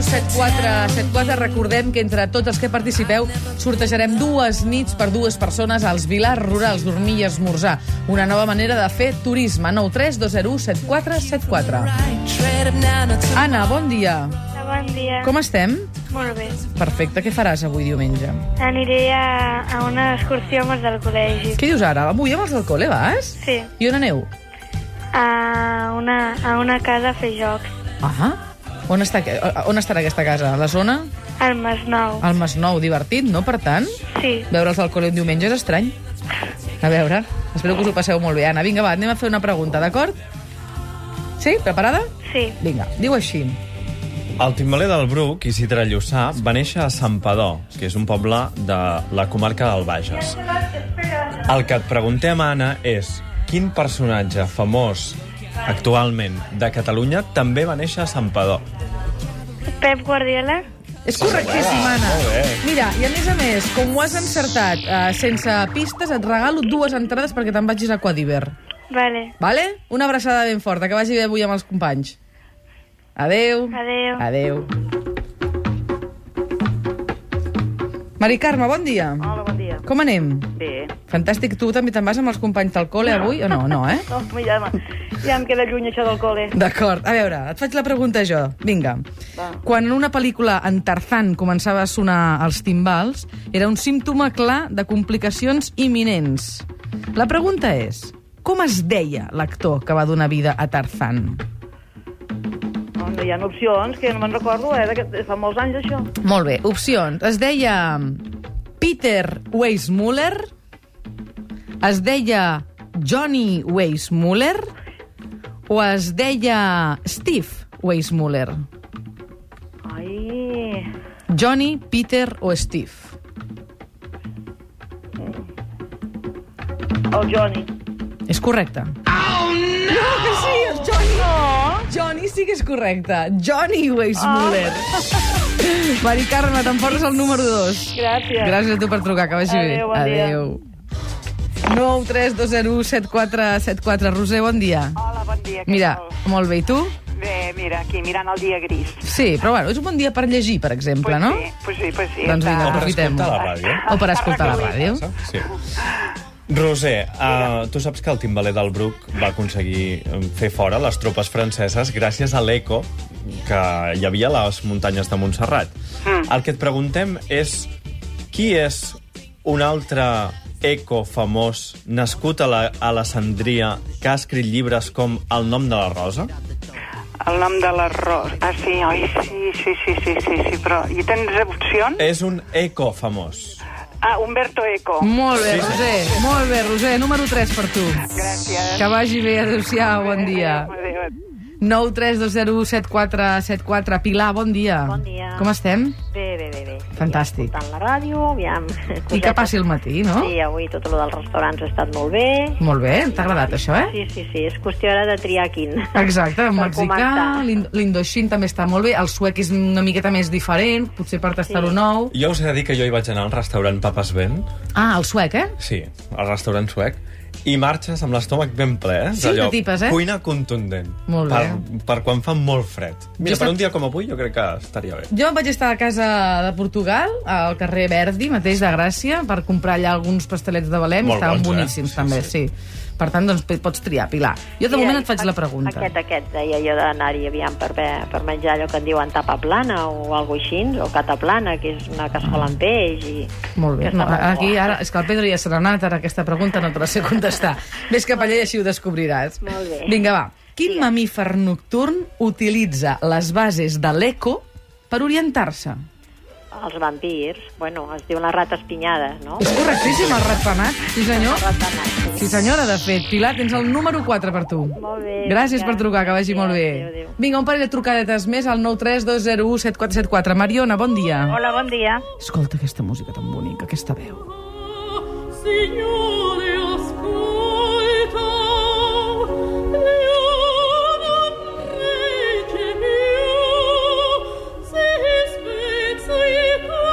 2-2-01-74-74. Recordem que entre tots els que participeu sortejarem dues nits per dues persones als vilars rurals dormir i esmorzar. Una nova manera de fer turisme. 9 3 2 0 7 4 7 4. Anna, bon dia. Bon dia. Com estem? Molt bé. Perfecte. Què faràs avui diumenge? Aniré a, a una excursió amb els del col·legi. Què dius ara? Avui amb els del col·le vas? Sí, I on aneu? a una, a una casa a fer jocs. Ah, on, està, on estarà aquesta casa? A la zona? Al Masnou. Al Masnou, divertit, no? Per tant, Sí, veure'ls al col·le un diumenge és estrany. A veure, espero que us ho passeu molt bé. Anna, vinga, va, anem a fer una pregunta, d'acord? Sí? Preparada? sí. Vinga, diu així. El timbaler del Bruc, Isidre Llussà, va néixer a Santpedor, que és un poble de la comarca del Bages. El que et preguntem, Anna, és quin personatge famós actualment de Catalunya també va néixer a Santpedor. Pep Guardiola? És correctíssim, Anna. Mira, i a més a més, com ho has encertat eh, sense pistes, et regalo dues entrades perquè te'n vagis a Quadiver. Vale. Vale? Una abraçada ben forta, que vagi bé avui amb els companys. Adeu. Adeu. Adeu. Mari Carme, bon dia. Hola, bon dia. Com anem? Bé. Fantàstic. Tu també te'n vas amb els companys del col·le avui o no? No, eh? No, mira, home, ja em queda lluny això del col·le. D'acord. A veure, et faig la pregunta jo. Vinga. Va. Quan en una pel·lícula en Tarzan començava a sonar els timbals, era un símptoma clar de complicacions imminents. La pregunta és, com es deia l'actor que va donar vida a Tarzan? No, no hi ha opcions, que no me'n recordo, eh? d'aquest- de fa molts anys, això. Molt bé, opcions. Es deia Peter Weissmuller, es deia Johnny Weissmuller o es deia Steve Weissmuller? Ai... Johnny, Peter o Steve? El Johnny. És correcte. Oh, no! no que sí, el Johnny. No. Johnny sí que és correcte. Johnny Weissmuller. Oh. Mari Carme, t'emportes el número 2. Gràcies. Gràcies a tu per trucar, que vagi Adéu, bé. bon dia. 9 3 2 0 7 4 7 4 Roser, bon dia. Hola, bon dia. què Mira, tal? molt bé, i tu? Bé, mira, aquí mirant el dia gris. Sí, però bueno, és un bon dia per llegir, per exemple, no? Sí, pues sí, pues sí. Doncs vinga, O per aprofitem-ho. escoltar la ràdio. O per escoltar la ràdio. Sí. Roser, uh, tu saps que el timbaler del Bruc va aconseguir eh, fer fora les tropes franceses gràcies a l'eco que hi havia a les muntanyes de Montserrat. El que et preguntem és qui és un altre eco famós nascut a la- a Alessandria que ha escrit llibres com El nom de la rosa? El nom de l'arròs. Ah, sí, oi? Sí, sí, sí, sí, sí, sí, però... I tens opcions? És un eco famós. Ah, Humberto Eco. Molt bé, Sí, sí. Roser, molt bé, Roser. Número 3 per tu. Gràcies. Que vagi bé, adéu-siau, bon dia. Adéu, adéu. 9 3 2 0 7 4 7 4 Pilar, bon dia. Bon dia. Com estem? Bé, bé, bé, bé. Fantàstic. Tant la ràdio, aviam... I que passi el matí, no? Sí, avui tot el dels restaurants ha estat molt bé. Molt bé, t'ha agradat això, eh? Sí, sí, sí, és qüestió ara de triar quin. Exacte, el Per mexicà, començar. l'in- l'indoxin també està molt bé, el suec és una miqueta més diferent, potser per tastar-ho Sí. nou. Jo us he de dir que jo hi vaig anar al restaurant Papas Ben Ah, el suec, eh? Sí, al restaurant suec. I marxes amb l'estómac ben ple, eh? Sí, de tipes, eh? Cuina contundent. Molt bé. Per, per quan fa molt fred. Mira, Jo Ah! per sap- un dia com avui jo crec que estaria bé. Jo vaig estar a casa de Portugal, al carrer Verdi, mateix de Gràcia, per comprar allà alguns pastelets de Belém, i Molt estaven bons, eh? boníssims, Sí, també, sí. Per tant, doncs, pots triar, Pilar. Jo, de moment, et faig la pregunta. Aquest, aquest, deia jo d'anar-hi, aviam, per, bé- per menjar allò que en diuen tapa plana o alguna així, o cata plana, que és una cassola amb peix i... Molt bé. que No, està molt aquí, bo. ara, és que el Pedro ja se n'ha anat, ara aquesta pregunta no te la sé contestar. Ves cap allà i així ho descobriràs. Molt bé. Vinga, va. Quin mamífer nocturn utilitza les bases de l'eco per orientar-se? Els vampirs, bueno, es diuen les rates pinyades, no? És correctíssim el ratpenat, sí senyor. Sí senyora, de fet. Pilar, tens el número 4 per tu. Molt bé. Gràcies vinga. per trucar, que vagi Adéu, molt adéu, bé. adéu. Vinga, un parell de trucadetes més al 932017474. Mariona, bon dia. Hola, bon dia. Escolta aquesta música tan bonica, aquesta veu. Signore, ascolta, leonam lege mio, si spezzi cor.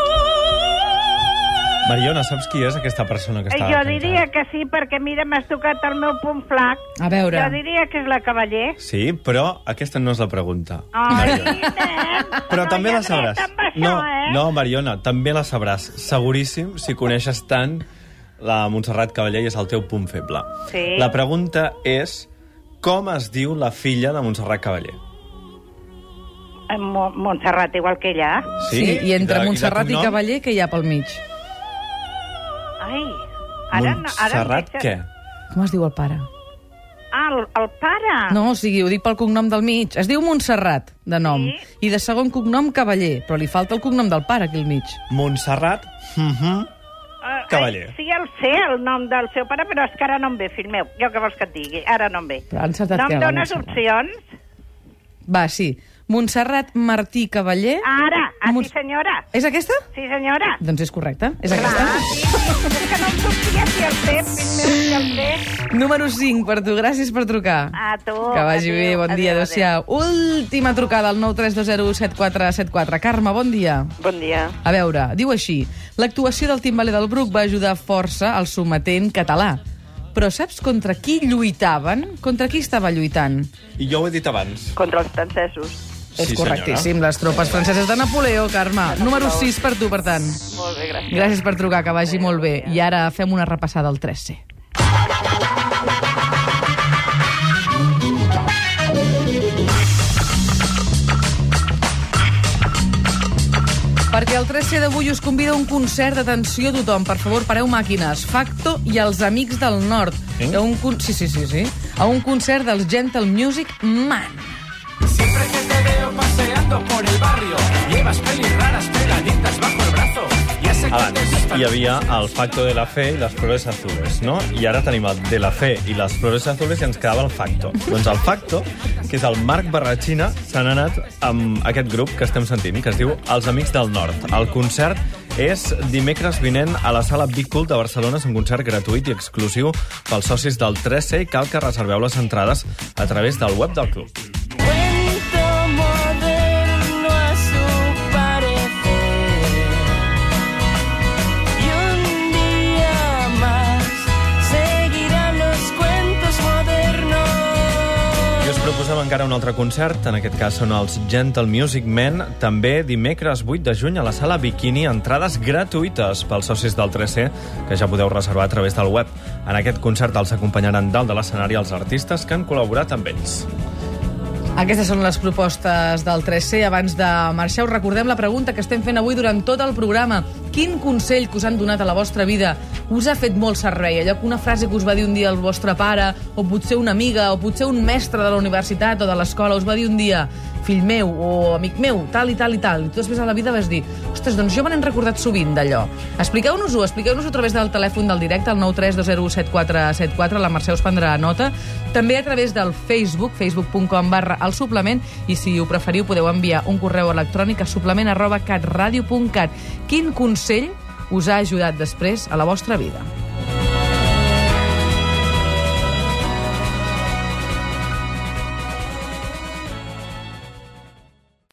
Mariona, saps qui és aquesta persona que estava Eh, jo cantant? diria que sí, perquè mira, m'has tocat el meu punt flac. A veure. Jo diria que és la cavaller. Sí, però aquesta no és la pregunta. Oh, Mariona. Però no també hi ha la sabràs. dret amb Això, no, eh? no, Mariona, també la sabràs. Seguríssim, si coneixes tant la Montserrat Cavaller i és el teu punt feble. Sí. La pregunta és com es diu la filla de Montserrat Cavaller? Eh, Mo- Montserrat, igual que ella. sí? I entre de- Montserrat i, cognom? Cavaller, que hi ha pel mig? Ai, ara no... Ara em Montserrat deixes- què? Com es diu el pare? Ah, el, el pare. No, o sigui, ho dic pel cognom del mig. Es diu Montserrat, de nom, Sí. i de segon cognom Cavaller, però li falta el cognom del pare aquí al mig. Montserrat mm Eh, Cavaller. Ai, sí, el sé, el nom del seu pare, però és que ara no em ve, fill meu. Jo què vols que et digui? Ara no em ve. Però ha encertat No què, em la dones Montserrat? opcions? Va, sí. Montserrat Martí Cavaller. Ara, ah, Mons- sí, senyora. És aquesta? Sí, senyora. Doncs és correcte. És Clar, aquesta. sí, sí, és que no em sortia si el sé, fill meu, si el sé. Número 5 per tu. Gràcies per trucar. A tu. Que vagi Adéu, bé, bon dia, adéu, adéu-siau. Última trucada al 932017474. Carme, bon dia. Bon dia. A veure, diu així. L'actuació del timbaler del Bruc va ajudar força al sometent català. Però saps contra qui lluitaven? Contra qui estava lluitant? I jo ho he dit abans. Contra els francesos. És sí, correctíssim, les tropes franceses de Napoleó, Carme. Número 6 per tu, per tant. Molt bé, gràcies. Gràcies per trucar, que vagi molt bé. I ara fem una repassada al 3C. Perquè el 3C d'avui us convida a un concert d'atenció a tothom. Per favor, pareu màquines. Facto i els Amics del Nord. Sí? A un con... sí, sí, sí, sí. A un concert dels Gentle Music Man. Siempre que te veo paseando por el barrio, llevas pelis raras pegaditas bajo el brazo. Ya sé que te Abans gustan hi havia el Facto de la Fe i les Flores Azules, no? I ara tenim el de la Fe i les Flores Azules i ens quedava el Facto. Doncs el Facto, que és el Marc Barratxina, s'ha anat amb aquest grup que estem sentint, que es diu Els Amics del Nord. El concert és dimecres vinent a la sala Big Cult de Barcelona. És un concert gratuït i exclusiu pels socis del 3C i cal que reserveu les entrades a través del web del club. Cuento moderno a su parecer. Y un día más seguirán los cuentos modernos. I us proposem encara un altre concert, en aquest cas són els Gentle Music Men, també dimecres 8 de juny a la sala Bikini, entrades gratuïtes pels socis del 3C, que ja podeu reservar a través del web. En aquest concert els acompanyaran dalt de l'escenari els artistes que han col·laborat amb ells. Aquestes són les propostes del 3C. Abans de marxar, us recordem la pregunta que estem fent avui durant tot el programa. Quin consell que us han donat a la vostra vida us ha fet molt servei? Allò que una frase que us va dir un dia el vostre pare, o potser una amiga, o potser un mestre de la universitat o de l'escola, us va dir un dia fill meu o amic meu, tal i tal i tal. I tu després a la vida vas dir, ostres, doncs jo me n'he recordat sovint d'allò. Expliqueu-nos-ho, expliqueu-nos-ho a través del telèfon del directe, al 932017474, la Mercè us prendrà nota. També a través del Facebook, facebook.com barra el suplement, i si ho preferiu podeu enviar un correu electrònic a suplement arroba catradio.cat. Quin consell us ha ajudat després a la vostra vida?